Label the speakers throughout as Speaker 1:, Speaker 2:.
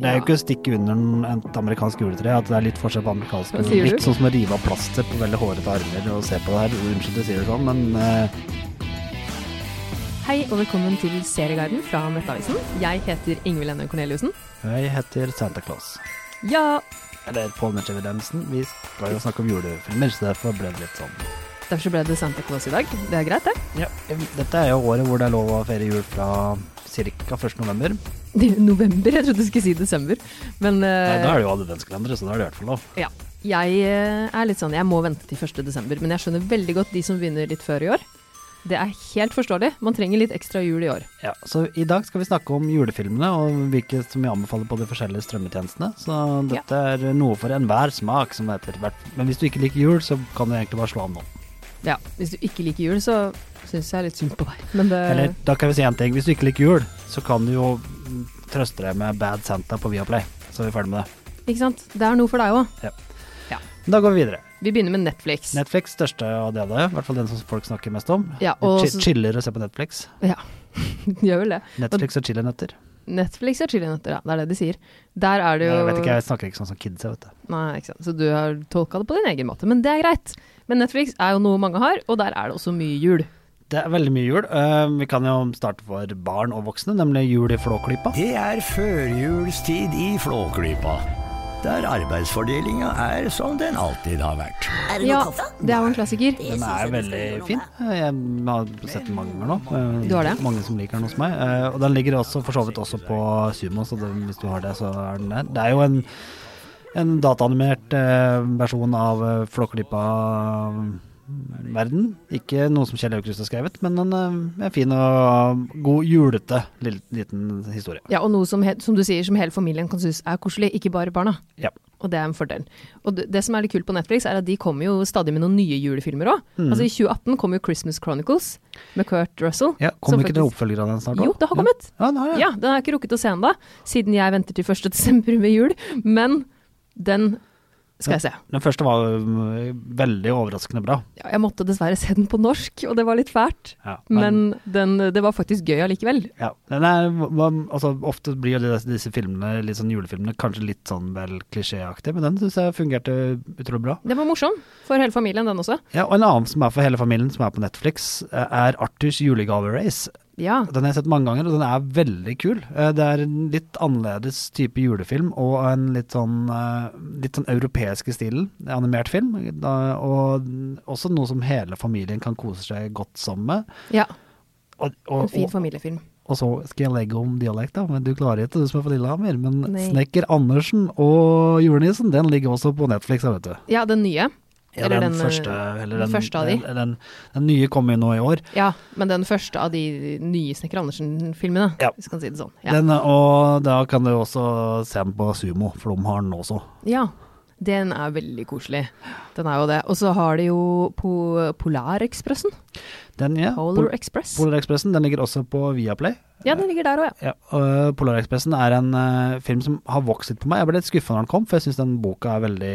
Speaker 1: Det er jo ikke å stikke under et amerikansk juletre at det er litt forskjell på amerikansk
Speaker 2: Hva sier du?
Speaker 1: Litt sånn som å rive av plaster på veldig hårete armer og se på det her. Unnskyld at jeg sier det sånn, men eh,
Speaker 2: Hei og velkommen til Serieguiden fra Nettavisen. Jeg heter Ingvild Enne Corneliussen.
Speaker 1: jeg heter Santa Claus.
Speaker 2: Ja,
Speaker 1: Eller Paul Mitchell Williamson. Vi pleier å snakke om julefilmer, så derfor ble det litt sånn.
Speaker 2: derfor så ble det Santa Claus i dag. Det er greit, det.
Speaker 1: Ja, dette er jo året hvor det er lov å feire jul fra ca. 1. november.
Speaker 2: Det er November, jeg trodde du skulle si desember. Men
Speaker 1: Nei, da
Speaker 2: eh,
Speaker 1: er det jo adventskalendere, så da er det i hvert fall lov.
Speaker 2: ja. Jeg eh, er litt sånn, jeg må vente til 1. desember. Men jeg skjønner veldig godt de som begynner litt før i år. Det er helt forståelig. Man trenger litt ekstra jul i år.
Speaker 1: Ja, så i dag skal vi snakke om julefilmene og hvilke som vi anbefaler på de forskjellige strømmetjenestene. Så dette er noe for enhver smak, som det heter. Hvert- Men hvis du ikke liker jul, så kan du egentlig bare slå av nå.
Speaker 2: Ja, hvis du ikke liker jul, så syns jeg litt synd på deg. Men det
Speaker 1: Eller da kan vi si én ting. Hvis du ikke liker jul, så kan du jo mm, trøste deg med Bad Santa på Viaplay. Så er vi ferdig med det.
Speaker 2: Ikke sant? Det er noe for deg òg.
Speaker 1: Men Da går vi videre.
Speaker 2: Vi begynner med Netflix.
Speaker 1: Netflix, største av det, i hvert fall den som folk snakker mest om.
Speaker 2: Ja, og
Speaker 1: Chi-
Speaker 2: så-
Speaker 1: Chiller å se på Netflix.
Speaker 2: ja, gjør vel det.
Speaker 1: Netflix og chillenøtter.
Speaker 2: Netflix er chilinøtter, ja. Det er det de sier. Der er det jo
Speaker 1: Jeg vet ikke, jeg snakker ikke sånn som kids, jeg, vet du.
Speaker 2: Nei, ikke sant. Så du har tolka det på din egen måte. Men det er greit. Men Netflix er jo noe mange har, og der er det også mye jul.
Speaker 1: Det er veldig mye jul. Eh, Vi kan jo starte for barn og voksne, nemlig Jul i Flåklypa.
Speaker 3: Det er førjulstid i Flåklypa, der arbeidsfordelinga er som den alltid har vært.
Speaker 4: Er det
Speaker 2: Ja,
Speaker 4: noe kaffe?
Speaker 2: det er jo en klassiker.
Speaker 1: Den er veldig fin. Jeg har sett den mange ganger nå. Eh,
Speaker 2: Du har det?
Speaker 1: Mange som liker den hos meg. Eh, Og den ligger også for så vidt også på Sumo, så det, hvis du har det, så er den der. Det er jo en, en dataanimert eh, versjon av eh, Flåklypa eh, verden. Ikke noe som Kjell Aukrust har skrevet, men en eh, en fin og god julete lille- liten historie.
Speaker 2: Ja, og noe som, he- som du sier, som hele familien kan synes er koselig, ikke bare barna.
Speaker 1: Ja.
Speaker 2: Og det er en fordel. Og det, det som er litt kult på Netflix, er at de kommer jo stadig med noen nye julefilmer òg.
Speaker 1: Hmm.
Speaker 2: Altså i 2018 kom jo 'Christmas Chronicles' med Kurt Russell.
Speaker 1: Ja, kom
Speaker 2: som
Speaker 1: ikke det
Speaker 2: faktisk-
Speaker 1: oppfølger av den snart? da?
Speaker 2: Jo, det har kommet.
Speaker 1: Ja, den har jeg.
Speaker 2: Ja, den har jeg ikke rukket å se ennå, siden jeg venter til 1. desember med jul. Men den skal jeg se.
Speaker 1: Den første var ø, veldig overraskende bra.
Speaker 2: Ja, Jeg måtte dessverre se den på norsk, og det var litt fælt.
Speaker 1: Ja, men-
Speaker 2: men den, det var faktisk gøy allikevel.
Speaker 1: Ja. Den er, man, altså, ofte blir jo disse, disse filmene, litt sånn julefilmene kanskje litt sånn vel klisjéaktig, men den syns jeg fungerte utrolig bra.
Speaker 2: Den var morsom for hele familien, den også.
Speaker 1: Ja, Og en annen som er for hele familien, som er på Netflix, ø, er Arthurs julegaverace.
Speaker 2: Ja.
Speaker 1: Den har jeg sett mange ganger, og den er veldig kul. Eh, Det er en litt annerledes type julefilm, og en litt sånn, eh, litt sånn europeiske stilen, animert film. da- Og også noe som hele familien kan kose seg godt sammen med.
Speaker 2: ja.
Speaker 1: Og,
Speaker 2: En
Speaker 1: og,
Speaker 2: fin
Speaker 1: og,
Speaker 2: familiefilm.
Speaker 1: og så skal jeg legge om dialekt, da, men du klarer ikke, du som er fra Lillehammer. Men
Speaker 2: Nei.
Speaker 1: Snekker Andersen og julenissen, den ligger også på Netflix, ja, vet du.
Speaker 2: Ja, den nye. Eller den, eh,
Speaker 1: første, eller
Speaker 2: den
Speaker 1: den,
Speaker 2: første av de.
Speaker 1: Den, den, den nye kommer jo nå i år.
Speaker 2: Ja, men den første av de nye Snekker Andersen-filmene,
Speaker 1: Ja.
Speaker 2: hvis vi kan si det sånn. Ja.
Speaker 1: Den, og da kan du også se den på Sumo, for de har den også.
Speaker 2: ja. Den er veldig koselig. Den er jo det. Og så har de jo po Polarekspressen.
Speaker 1: Den, ja.
Speaker 2: Polar
Speaker 1: Pol-
Speaker 2: Express.
Speaker 1: Polarekspressen den ligger også på Viaplay.
Speaker 2: Ja, den ligger der òg, ja.
Speaker 1: Ja, og Polarekspressen er en eh, film som har vokst litt på meg. Jeg ble litt skuffa når den kom, for jeg syns den boka er veldig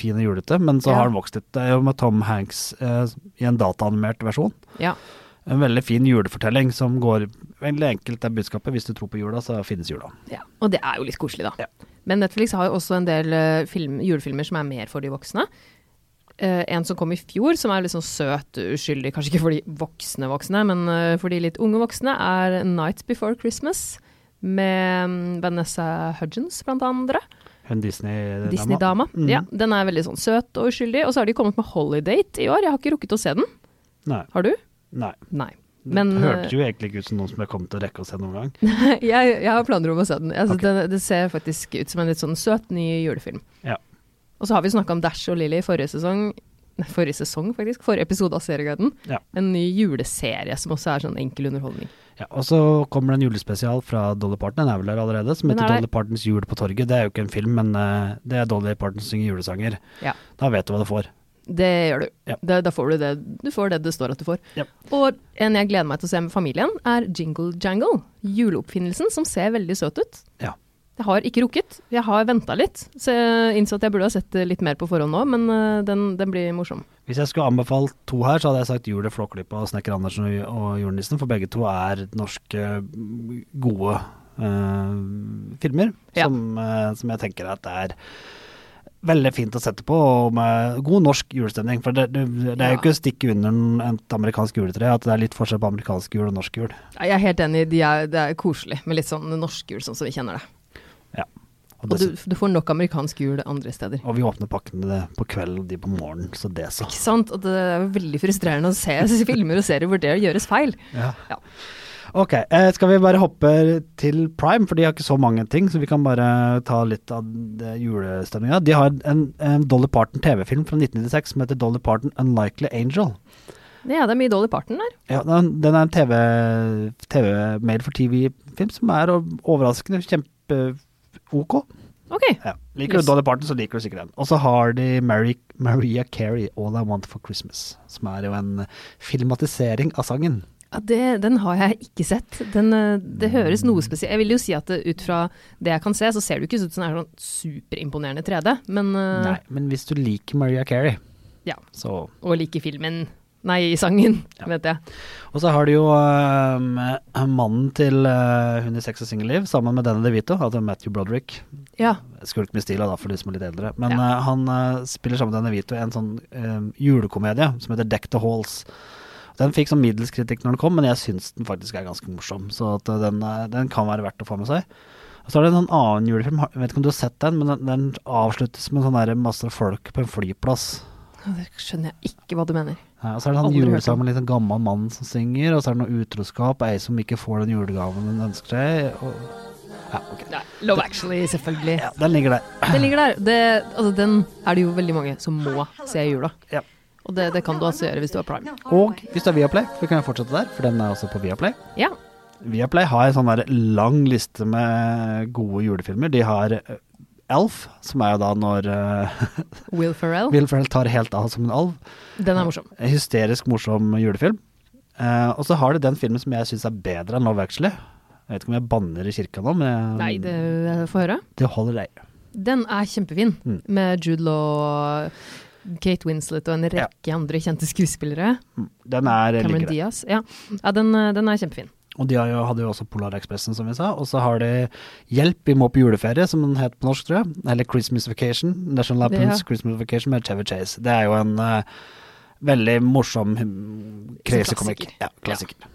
Speaker 1: fin og julete, men så
Speaker 2: Ja.
Speaker 1: har den vokst litt. Det er jo med Tom Hanks eh, i en dataanimert versjon.
Speaker 2: Ja.
Speaker 1: En veldig fin julefortelling som går veldig enkelt er budskapet. Hvis du tror på jula, så finnes jula.
Speaker 2: Ja, og det er jo litt koselig, da.
Speaker 1: Ja.
Speaker 2: Men Netflix har jo også en del eh, film, julefilmer som er mer for de voksne. Eh, en som kom i fjor, som er litt sånn søt, uskyldig, kanskje ikke for de voksne voksne, men eh, for de litt unge voksne, er 'Night Before Christmas' med mm, Vanessa Hudgens, blant andre.
Speaker 1: Hun Disney-dama.
Speaker 2: Disney-dama.
Speaker 1: Mhm.
Speaker 2: Ja, den er veldig sånn søt og uskyldig. Og så har de kommet med 'Holidate' i år. Jeg har ikke rukket å se den.
Speaker 1: Nei.
Speaker 2: Har du?
Speaker 1: nei.
Speaker 2: Nei.
Speaker 1: Men,
Speaker 2: Men
Speaker 1: det
Speaker 2: eh,
Speaker 1: hørtes jo egentlig ikke ut som noen som jeg kom til å rekke å se noen gang.
Speaker 2: jeg, jeg har planer om å se den. Jeg synes den. Det ser faktisk ut som en litt sånn søt ny julefilm.
Speaker 1: Ja.
Speaker 2: Og så har vi snakka om Dash og Lily i forrige sesong. Nei, forrige sesong, faktisk. Forrige episode av Serieguiden.
Speaker 1: Ja.
Speaker 2: En ny juleserie som også er sånn enkel underholdning.
Speaker 1: Ja, og så kommer det en julespesial fra Dolly Parton, den er vel der allerede, som
Speaker 2: Den
Speaker 1: heter
Speaker 2: er der.
Speaker 1: Dolly Partons jul på torget. Det er jo ikke en film, men eh, det er Dolly Parton som synger julesanger.
Speaker 2: Ja.
Speaker 1: Da vet du hva du får.
Speaker 2: Det gjør du.
Speaker 1: Ja.
Speaker 2: Det, da får du det du får det det står at du får.
Speaker 1: Ja.
Speaker 2: Og en jeg gleder meg til å se med familien, er Jingle Jangle. Juleoppfinnelsen som ser veldig søt ut.
Speaker 1: Ja.
Speaker 2: Jeg har ikke rukket. Jeg har venta litt. Så jeg innså at jeg burde ha sett det litt mer på forhånd nå, men øh, den, den blir morsom.
Speaker 1: Hvis jeg skulle anbefalt to her, så hadde jeg sagt Jul i Flåklypa og Snekker Andersen og, og Julenissen, for begge to er norske mm, gode eh, filmer
Speaker 2: Ja.
Speaker 1: som, eh, som jeg tenker at det er veldig fint å sette på, og med god norsk julestemning. For det, det, det er
Speaker 2: Ja.
Speaker 1: jo ikke å stikke under en- et amerikansk juletre at det er litt forskjell på amerikansk jul og norsk jul.
Speaker 2: Nei, Jeg er helt enig, de er, det er koselig med litt sånn norsk jul, sånn som vi kjenner det.
Speaker 1: Ja. Og,
Speaker 2: Og du,
Speaker 1: dessuten-
Speaker 2: du får nok amerikansk jul andre steder.
Speaker 1: og vi åpner pakkene på kvelden og de på morgenen, så det så.
Speaker 2: Ikke sant? Og det er jo veldig frustrerende å se filmer og serier hvor det gjøres feil. Ja.
Speaker 1: Ok, eh, skal vi bare hoppe til Prime, for de har ikke så mange ting, så vi kan bare ta litt av det julestemninga. De har en, en Dolly Parton TV-film fra 1996 som heter Dolly Parton Unlikely Angel.
Speaker 2: Ja, det er mye Dolly Parton der.
Speaker 1: Ja, den, den er en TV, TV Mail for TV-film som er overraskende kjempe-ok.
Speaker 2: Ok.
Speaker 1: Ja. Liker du
Speaker 2: Yes.
Speaker 1: Dolly Parton, så liker du sikkert den. Og så har de Mary, Maria Carey, All I Want for Christmas, som er jo en filmatisering av sangen.
Speaker 2: Ja, det, den har jeg ikke sett. Den, eh, det høres noe spesielt Jeg vil jo si at det, ut fra det jeg kan se, så ser det jo ikke ut som det er sånn superimponerende 3D, men eh,
Speaker 1: Nei, men hvis du liker Maria Carey,
Speaker 2: Ja.
Speaker 1: så
Speaker 2: Og liker filmen. Nei, sangen, vet jeg.
Speaker 1: Og så har du jo øhm, mannen til øh, hun i Sex og singelliv sammen med Danny DeVito, altså Matthew Broderick.
Speaker 2: Ja.
Speaker 1: Skulk med stila da, for de som er litt eldre. Men
Speaker 2: Ja.
Speaker 1: øh, han øh, spiller sammen med Danny DeVito i en sånn øhm, julekomedie som heter Deck the Halls. Den fikk sånn middels kritikk når den kom, men jeg syns den faktisk er ganske morsom. Så at øh, den, er- den kan være verdt å få med seg. Og så er det en sånn annen julefilm, har- jeg vet ikke om du har sett den, men den, den avsluttes med sånn der masse folk på en flyplass.
Speaker 2: Ja, Det skjønner jeg ikke hva du mener.
Speaker 1: Ja, og så er det en
Speaker 2: Aldri hørt
Speaker 1: julesang
Speaker 2: om.
Speaker 1: med en liten gammel mann som synger, og så er det noe utroskap, ei som ikke får den julegaven hun ønsker seg. Og... Ja, ok.
Speaker 2: Nei, Love Actually, selvfølgelig.
Speaker 1: Ja, den ligger der.
Speaker 2: Den ligger der. Det, altså, den er det jo veldig mange som må se i jula.
Speaker 1: Ja.
Speaker 2: Og det, det kan du altså gjøre hvis du har prime.
Speaker 1: Og hvis det er Viaplay, så kan jeg fortsette der, for den er også på Viaplay.
Speaker 2: Ja.
Speaker 1: Viaplay har en sånn der lang liste med gode julefilmer. De har eh, Elf, som er jo da når uh,
Speaker 2: Will Ferrell.
Speaker 1: Will Ferrell tar helt av som en alv.
Speaker 2: Den er morsom.
Speaker 1: En hysterisk morsom julefilm. Eh, og så har de den filmen som jeg syns er bedre enn Love Actually. Jeg vet ikke om jeg banner i kirka nå, men
Speaker 2: Nei, det jeg får høre.
Speaker 1: det holder deg.
Speaker 2: Den er kjempefin,
Speaker 1: Mm.
Speaker 2: med Jude Law, Kate Winslet og en rekke andre kjente skuespillere.
Speaker 1: Mm. Den er ligger
Speaker 2: Cameron
Speaker 1: der.
Speaker 2: Diaz. Ja, ja den, eh, den er kjempefin.
Speaker 1: Og de har jo, hadde jo også Polarekspressen, som vi sa. Og så har de Hjelp, vi må på juleferie, som den het på norsk, tror jeg. Eller Christmas Vacation. National Lampoons
Speaker 2: Ja.
Speaker 1: Christmas Vacation med Chevy Chase. Det er jo en eh, veldig morsom, hum, crazy komikk.
Speaker 2: Klassiker.
Speaker 1: Ja, klassiker.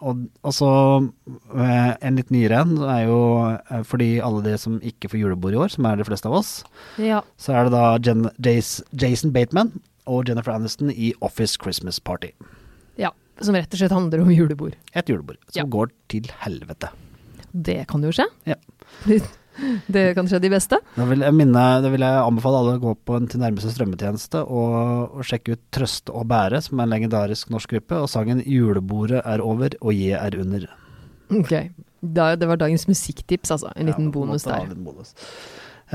Speaker 1: Og, og så eh, en litt nyere en, er jo eh, fordi alle de som ikke får julebord i år, som er de fleste av oss,
Speaker 2: Ja.
Speaker 1: så er det da Jen, Jace, Jason Bateman og Jennifer Aniston i Office Christmas Party.
Speaker 2: ja. Som rett og slett handler om julebord.
Speaker 1: Et julebord som
Speaker 2: Ja.
Speaker 1: går til helvete.
Speaker 2: Det kan jo skje.
Speaker 1: Ja.
Speaker 2: Det kan skje de beste.
Speaker 1: Da vil jeg, minne, da vil jeg anbefale alle å gå på en til nærmeste strømmetjeneste og, og sjekke ut Trøste og bære, som er en legendarisk norsk gruppe, og sangen 'Julebordet er over og jeg er under'.
Speaker 2: Ok. Da, det var dagens musikktips, altså. En liten
Speaker 1: Ja,
Speaker 2: bonus
Speaker 1: måtte ha
Speaker 2: der.
Speaker 1: en bonus.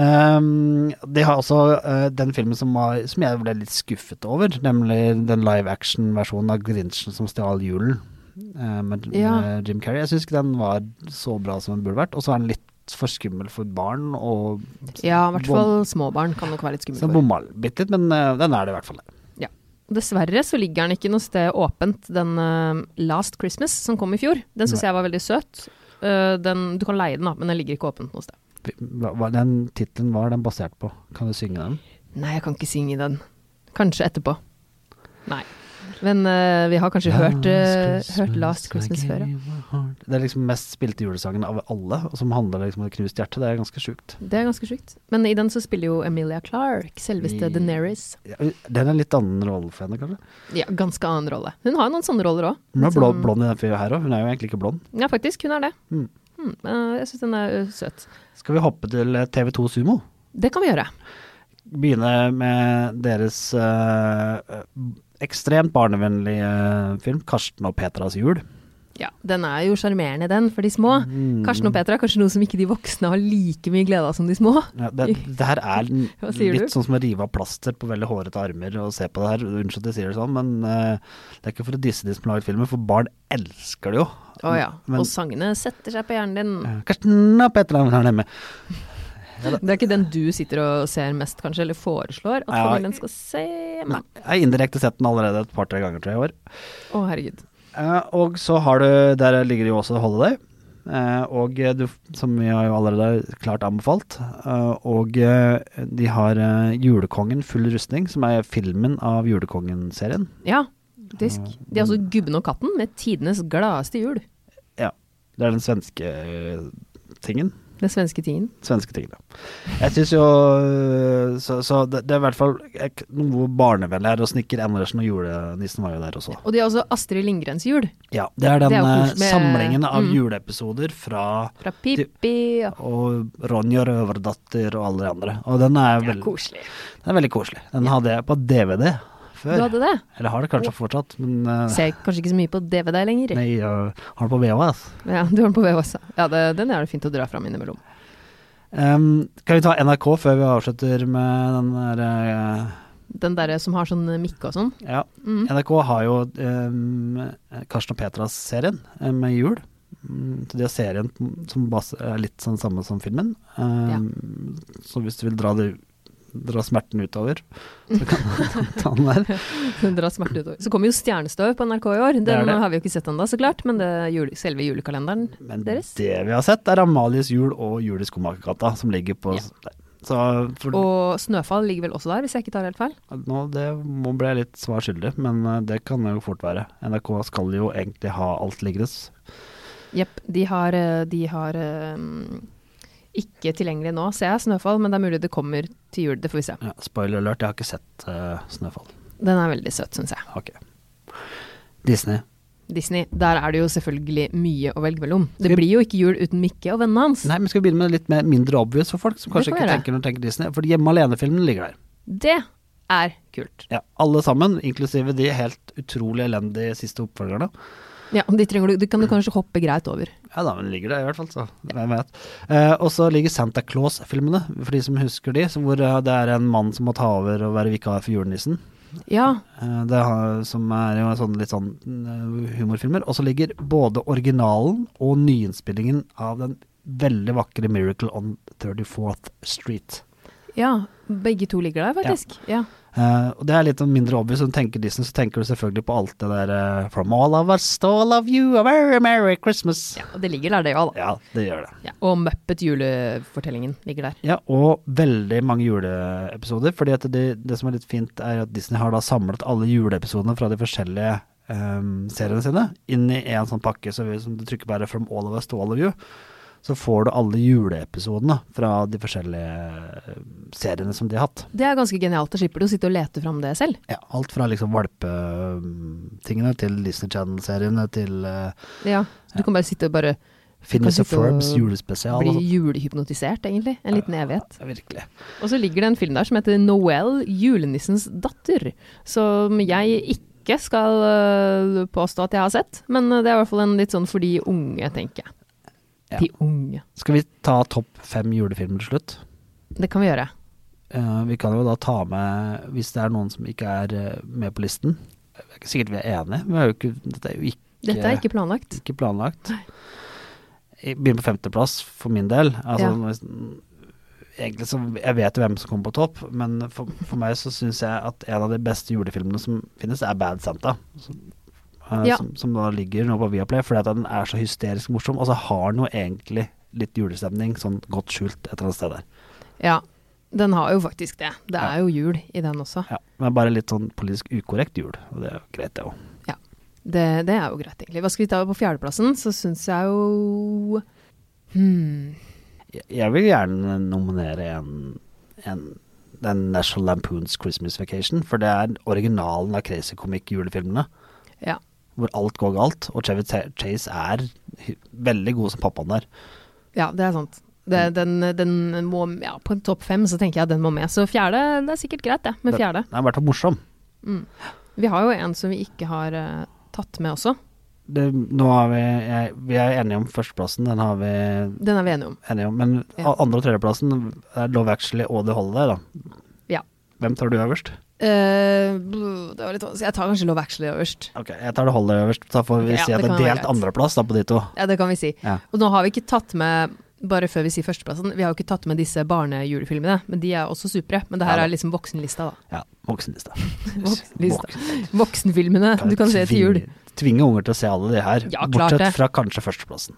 Speaker 1: Ehm, de har også eh, den filmen som, var, som jeg ble litt skuffet over, nemlig den live action-versjonen av Grinchen som stjal julen eh, med,
Speaker 2: Ja.
Speaker 1: med Jim Carrey. Jeg syns ikke den var så bra som den burde vært, og så er den litt for skummel for barn. Og,
Speaker 2: Ja, i hvert
Speaker 1: bom-
Speaker 2: fall småbarn kan nok være litt
Speaker 1: Så
Speaker 2: skumle
Speaker 1: den
Speaker 2: for.
Speaker 1: bomma bitte litt, men eh, den er det i hvert fall.
Speaker 2: Ja. Dessverre så ligger den ikke noe sted åpent, den eh, Last Christmas som kom i fjor. Den syns
Speaker 1: Nei.
Speaker 2: jeg var veldig søt. Eh, den, du kan leie den, da, men den ligger ikke åpent noe sted.
Speaker 1: Hva, hva den tittelen var den basert på? Kan du synge den?
Speaker 2: Nei, jeg kan ikke synge den. Kanskje etterpå. Nei. Men eh, vi har kanskje hørt, eh, hørt Last Christmas før, ja.
Speaker 1: ja. Det er liksom mest spilte julesangen av alle, og som handler liksom om et knust hjerte. Det er ganske sjukt.
Speaker 2: Det er ganske sjukt. Men i den så spiller jo Emilia Clarke, selveste
Speaker 1: I-
Speaker 2: Daenerys.
Speaker 1: Ja, den er en litt annen rolle for henne, kanskje.
Speaker 2: Ja, ganske annen rolle. Hun har noen sånne roller òg.
Speaker 1: Hun er blå, blond i den fyren her òg, hun er jo egentlig ikke blond.
Speaker 2: Ja, faktisk. Hun er det.
Speaker 1: Mm.
Speaker 2: Mm, eh, jeg syns den er eh, søt.
Speaker 1: Skal vi hoppe til eh, TV2 Sumo?
Speaker 2: Det kan vi gjøre.
Speaker 1: Begynne med deres eh, ekstremt barnevennlige eh, film, 'Karsten og Petras jul'.
Speaker 2: Ja, Den er jo sjarmerende, den, for de små.
Speaker 1: Mm.
Speaker 2: Karsten og Petra er kanskje noe som ikke de voksne har like mye glede av som de små.
Speaker 1: Ja, det, det her er n-
Speaker 2: Hva sier du?
Speaker 1: litt sånn som å rive av plaster på veldig hårete armer og se på det her. Unnskyld at jeg sier det sånn, men eh, det er ikke for å disse de som lager filmen, for barn elsker det jo.
Speaker 2: Å ja.
Speaker 1: Men-
Speaker 2: Og sangene setter seg på hjernen din.
Speaker 1: Eh, Karsten og Petra her nemme.
Speaker 2: Det er ikke den du sitter og ser mest, kanskje, eller foreslår at
Speaker 1: Ja.
Speaker 2: familien skal se.
Speaker 1: Nei,
Speaker 2: Men,
Speaker 1: jeg har indirekte sett den allerede et par-tre ganger, tror jeg, i år.
Speaker 2: å herregud.
Speaker 1: Eh, og så har du Der ligger det jo også Holiday. Eh, og eh, du, som vi har jo allerede klart anbefalt. eh, og eh, de har eh, Julekongen full rustning, som er filmen av Julekongen-serien.
Speaker 2: Ja, disk. De er altså
Speaker 1: Mm.
Speaker 2: Gubben og katten med tidenes gladeste jul.
Speaker 1: Ja. Det er den svenske eh, tingen.
Speaker 2: Den svenske tingen.
Speaker 1: Svenske tingen, ja. Jeg syns jo eh, Så, så det, det er i hvert fall eh, k- noe barnevennlig her. Og Snekker Andersen og julenissen var jo der også.
Speaker 2: Og de er også Astrid Lindgrens jul.
Speaker 1: Ja, Det er den
Speaker 2: Det er jo
Speaker 1: eh,
Speaker 2: koselig med-
Speaker 1: samlingen av
Speaker 2: mm.
Speaker 1: juleepisoder fra
Speaker 2: Fra Pippi og
Speaker 1: og Ronja Røverdatter og alle de andre. Og den er,
Speaker 2: Det er
Speaker 1: veld,
Speaker 2: koselig.
Speaker 1: den er veldig koselig. Den hadde jeg på DVD
Speaker 2: Du
Speaker 1: før.
Speaker 2: hadde det?
Speaker 1: Eller har det kanskje fortsatt, men eh,
Speaker 2: Ser kanskje ikke så mye på DVD lenger.
Speaker 1: nei, jeg har det på VHS.
Speaker 2: Ja, du har den på VHS. Ja, det, den er det fint å dra fram innimellom.
Speaker 1: Em, Ehm, kan vi ta NRK før vi avslutter med den der eh,
Speaker 2: Den derre som har sånn mikke og sånn.
Speaker 1: Ja. NRK har jo em, Karsten og Petras-serien eh, med jul. Mm, Så de har serien som bas er litt sånn samme som filmen. Em, Så hvis du vil dra, det, dra smerten utover, så kan du ta den der.
Speaker 2: Den drar smerte utover. Så kommer jo Stjernestøv på NRK i år. Den
Speaker 1: Det er det.
Speaker 2: har vi jo ikke sett ennå, så klart. Men det er jule, selve julekalenderen
Speaker 1: Men
Speaker 2: deres.
Speaker 1: det vi har sett, er Amalies jul og Jul i skomakergata, som ligger på
Speaker 2: Ja.
Speaker 1: der. Så for,
Speaker 2: Og Snøfall ligger vel også der, hvis jeg ikke tar helt feil.
Speaker 1: nå, det må bli jeg litt svar skyldig, men eh, det kan det jo fort være. NRK skal jo egentlig ha alt liggende.
Speaker 2: Jepp. De har, eh, de har eh, ikke tilgjengelig nå, ser jeg, Snøfall, men det er mulig det kommer til jul. Det får vi se.
Speaker 1: Ja, spoiler alert, jeg har ikke sett eh, Snøfall.
Speaker 2: Den er veldig søt, syns jeg.
Speaker 1: Har ikke. Disney.
Speaker 2: Disney, der er det jo selvfølgelig mye å velge mellom. Det blir jo ikke jul uten Mikke og vennene hans.
Speaker 1: Nei, men skal vi begynne med litt mer mindre obvious for folk som
Speaker 2: Det
Speaker 1: kanskje
Speaker 2: kan
Speaker 1: ikke
Speaker 2: være.
Speaker 1: tenker når de tenker Disney? For Hjemme alene-filmen ligger der.
Speaker 2: Det er kult.
Speaker 1: Ja, alle sammen, inklusive de helt utrolig elendige siste oppfølgerne.
Speaker 2: Ja, de trenger du, det kan du kanskje hoppe greit over.
Speaker 1: Ja da, men ligger det i hvert fall, så hvem vet. Eh, og så ligger Santa Claus-filmene, for de som husker de, som hvor eh, det er en mann som må ta over og være vikar for julenissen.
Speaker 2: Ja,
Speaker 1: Eh, det har, som er jo en sånn, litt sånn eh, humorfilmer. Og så ligger både originalen og nyinnspillingen av den veldig vakre 'Miracle on 34th Street'.
Speaker 2: ja, begge to ligger der faktisk. Ja.
Speaker 1: Eh, og det er litt sånn mindre obvious. Når du tenker Disney, så tenker du selvfølgelig på alt det der eh, 'From all of us to all of you, a very merry Christmas'.
Speaker 2: Ja. og det ligger der det òg, da.
Speaker 1: ja det gjør det.
Speaker 2: Ja. Og Muppet julefortellingen ligger der.
Speaker 1: Ja, og veldig mange juleepisoder. fordi at det, det som er litt fint, er at Disney har da samlet alle juleepisodene fra de forskjellige ehm, seriene sine inn i en sånn pakke. Så hvis du trykker bare 'From all of us to all of you', så får du alle juleepisodene fra de forskjellige ehm, seriene som de har hatt.
Speaker 2: Det er ganske genialt, da slipper du å sitte og lete fram det selv.
Speaker 1: Ja, alt fra liksom valpetingene til Disney Channel-seriene til uh,
Speaker 2: Ja, Du kan bare sitte og bare
Speaker 1: Finnes og
Speaker 2: Kan sitte og
Speaker 1: Ferbs julespesial.
Speaker 2: bli
Speaker 1: og sånt.
Speaker 2: julehypnotisert, egentlig. En liten evighet.
Speaker 1: Ja, virkelig.
Speaker 2: Og så ligger det en film der som heter Noel, julenissens datter, som jeg ikke skal øh, påstå at jeg har sett, men det er i hvert fall en litt sånn for de unge, tenker jeg.
Speaker 1: Ja.
Speaker 2: De unge.
Speaker 1: Skal vi ta topp fem julefilmer til slutt?
Speaker 2: Det kan vi gjøre.
Speaker 1: Eh, vi kan jo da ta med, hvis det er noen som ikke er eh, med på listen Det er ikke sikkert vi er enige, vi har jo ikke, dette er jo ikke,
Speaker 2: Dette er ikke planlagt.
Speaker 1: ikke planlagt. Jeg begynner på femteplass for min del. Altså,
Speaker 2: Ja.
Speaker 1: hvis- Egentlig så Jeg vet jo hvem som kommer på topp, men for, for meg så syns jeg at en av de beste julefilmene som finnes, er Bad Santa. Som, eh,
Speaker 2: Ja.
Speaker 1: som, som da ligger nå på Viaplay, fordi at den er så hysterisk morsom. Og så har den jo egentlig litt julestemning, sånn godt skjult et eller annet sted der.
Speaker 2: Ja, den har jo faktisk det. Det er jo jul i den også.
Speaker 1: Ja, men bare litt sånn politisk ukorrekt jul, og det er jo greit det òg.
Speaker 2: Ja, det, det er jo greit, egentlig. Hva skal vi ta på fjerdeplassen? Så syns jeg jo hmm.
Speaker 1: Jeg- Jeg vil gjerne nominere en, en den National Lampoons Christmas Vacation, for det er originalen av Crazy Comic-julefilmene,
Speaker 2: Ja.
Speaker 1: hvor alt går galt, og Chevy Ta- Chase er hy- veldig god som pappaen der.
Speaker 2: ja, det er sant. Det, den, den må Ja, på en topp fem så tenker jeg den må med. Så fjerde, det er sikkert greit, det. Med
Speaker 1: Den-
Speaker 2: fjerde.
Speaker 1: Den er i hvert fall morsom.
Speaker 2: Vi har jo en som vi ikke har eh, tatt med også.
Speaker 1: Det, nå har vi, jeg, vi er enige om førsteplassen, den har vi
Speaker 2: Den er vi enige om.
Speaker 1: enige om, men
Speaker 2: Ja.
Speaker 1: a- andre- og tredjeplassen er Love Actually og The Holiday, da.
Speaker 2: Ja.
Speaker 1: Hvem tar du øverst?
Speaker 2: Eh, bluh, det var litt vanskelig. Jeg tar kanskje Love Actually øverst.
Speaker 1: Ok, jeg tar The Holiday øverst, så får vi
Speaker 2: Ja,
Speaker 1: si
Speaker 2: det
Speaker 1: at det
Speaker 2: kan
Speaker 1: er
Speaker 2: være
Speaker 1: delt
Speaker 2: greit.
Speaker 1: andreplass da på de to.
Speaker 2: Ja, det kan vi si.
Speaker 1: Ja.
Speaker 2: Og nå har vi ikke tatt med bare før vi sier førsteplassen, vi har jo ikke tatt med disse barnejulefilmene, men de er også supre. Men det her
Speaker 1: Ja da.
Speaker 2: er liksom voksenlista, da.
Speaker 1: Ja, voksenlista.
Speaker 2: Voksenlista. Voksenfilmene du kan se til jul.
Speaker 1: Tvinge unger til å se alle de her,
Speaker 2: Ja, klart
Speaker 1: bortsett
Speaker 2: det.
Speaker 1: fra kanskje førsteplassen.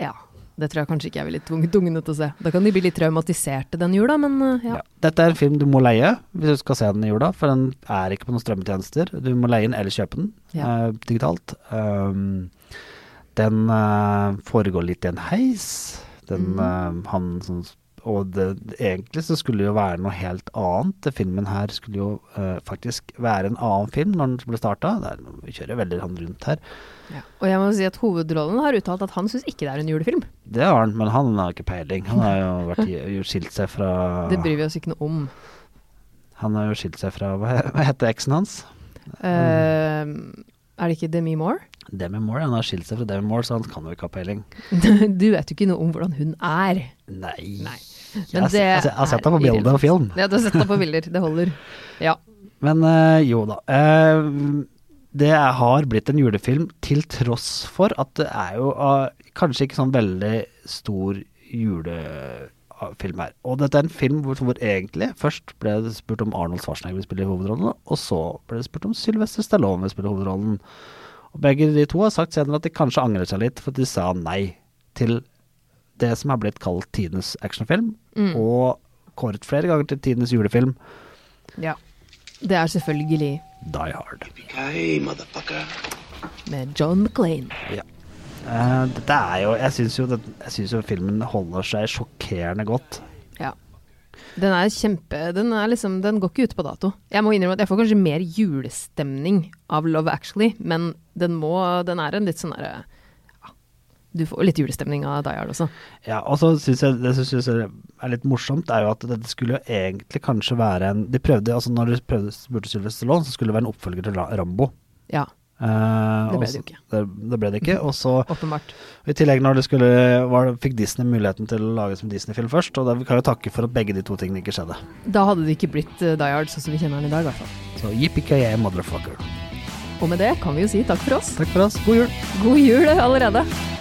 Speaker 2: Ja, Det tror jeg kanskje ikke jeg ville tvunget ungene til å se. Da kan de bli litt traumatiserte den jula, men eh, ja.
Speaker 1: Ja. Dette er en film du må leie hvis du skal se den i jula, for den er ikke på noen strømmetjenester. Du må leie den eller kjøpe den
Speaker 2: Ja.
Speaker 1: eh, digitalt. Um, den eh, foregår litt i en heis.
Speaker 2: Mm.
Speaker 1: Den, eh, han som Og det, egentlig så skulle det jo være noe helt annet. Det Filmen her skulle jo eh, faktisk være en annen film når den ble starta. Vi kjører veldig han rundt her.
Speaker 2: ja. Og jeg må si at hovedrollen har uttalt at han syns ikke det er en julefilm.
Speaker 1: Det har han, men han har ikke peiling. Han har jo vært, i- skilt seg fra
Speaker 2: Det bryr vi oss ikke noe om.
Speaker 1: Han har jo skilt seg fra Hva hva heter eksen hans? Mm.
Speaker 2: Eh, er det ikke Demi Moore?
Speaker 1: Demi Moore, han har skilt seg fra Demi Moore, så han kan jo ikke ha peiling.
Speaker 2: Du vet jo ikke noe om hvordan hun er.
Speaker 1: Nei.
Speaker 2: Nei.
Speaker 1: Jeg har se- jeg har se- jeg har sett
Speaker 2: er
Speaker 1: ham på bilder og film.
Speaker 2: irrelevant. Ja, du har sett deg på bilder. Det holder. Ja.
Speaker 1: Men eh, jo da. eh, det er- har blitt en julefilm til tross for at det er jo ah, kanskje ikke sånn veldig stor julefilm her. Og dette er en film hvor, hvor egentlig først ble det spurt om Arnold Schwarzenegger vil spille hovedrollen, og så ble det spurt om Sylvester Stallone vil spille hovedrollen. Og begge de to har sagt senere at de kanskje angrer seg litt, for at de sa nei til det som er blitt kalt tidenes actionfilm, og kåret flere ganger til tidenes julefilm,
Speaker 2: ja. Det er selvfølgelig
Speaker 1: Die Hard.
Speaker 4: Hey, motherfucker.
Speaker 2: med John McLean.
Speaker 1: Ja. Eh, dette er jo Jeg syns jo, det- jeg synes jo filmen holder seg sjokkerende godt.
Speaker 2: Ja. Den er kjempe den, er liksom, den går ikke ut på dato. Jeg må innrømme at jeg får kanskje mer julestemning av Love Actually, men den, må, den er en litt sånn derre ja, Du får litt julestemning av Die Hard også.
Speaker 1: Ja, og så syns jeg det som synes jeg er litt morsomt, er jo at dette skulle jo egentlig kanskje være en De prøvde, altså når de prøvde spurte Sylvester Stallone, så skulle det være en oppfølger til Ra- Rambo.
Speaker 2: Ja,
Speaker 1: Eh,
Speaker 2: Det ble
Speaker 1: og
Speaker 2: det jo
Speaker 1: så-
Speaker 2: ikke.
Speaker 1: Det, det ble det ikke. Og så
Speaker 2: åpenbart.
Speaker 1: I tillegg når det skulle, var, fikk Disney muligheten til å lage som Disney-film først, og det kan jo takke for at begge de to tingene ikke skjedde.
Speaker 2: Da hadde det ikke blitt eh, Die Hard sånn som vi kjenner den i dag, i hvert fall.
Speaker 1: Så yippee-ki-yay, motherfucker.
Speaker 2: Og med det kan vi jo si takk for oss.
Speaker 1: Takk for oss. God jul.
Speaker 2: God jul allerede.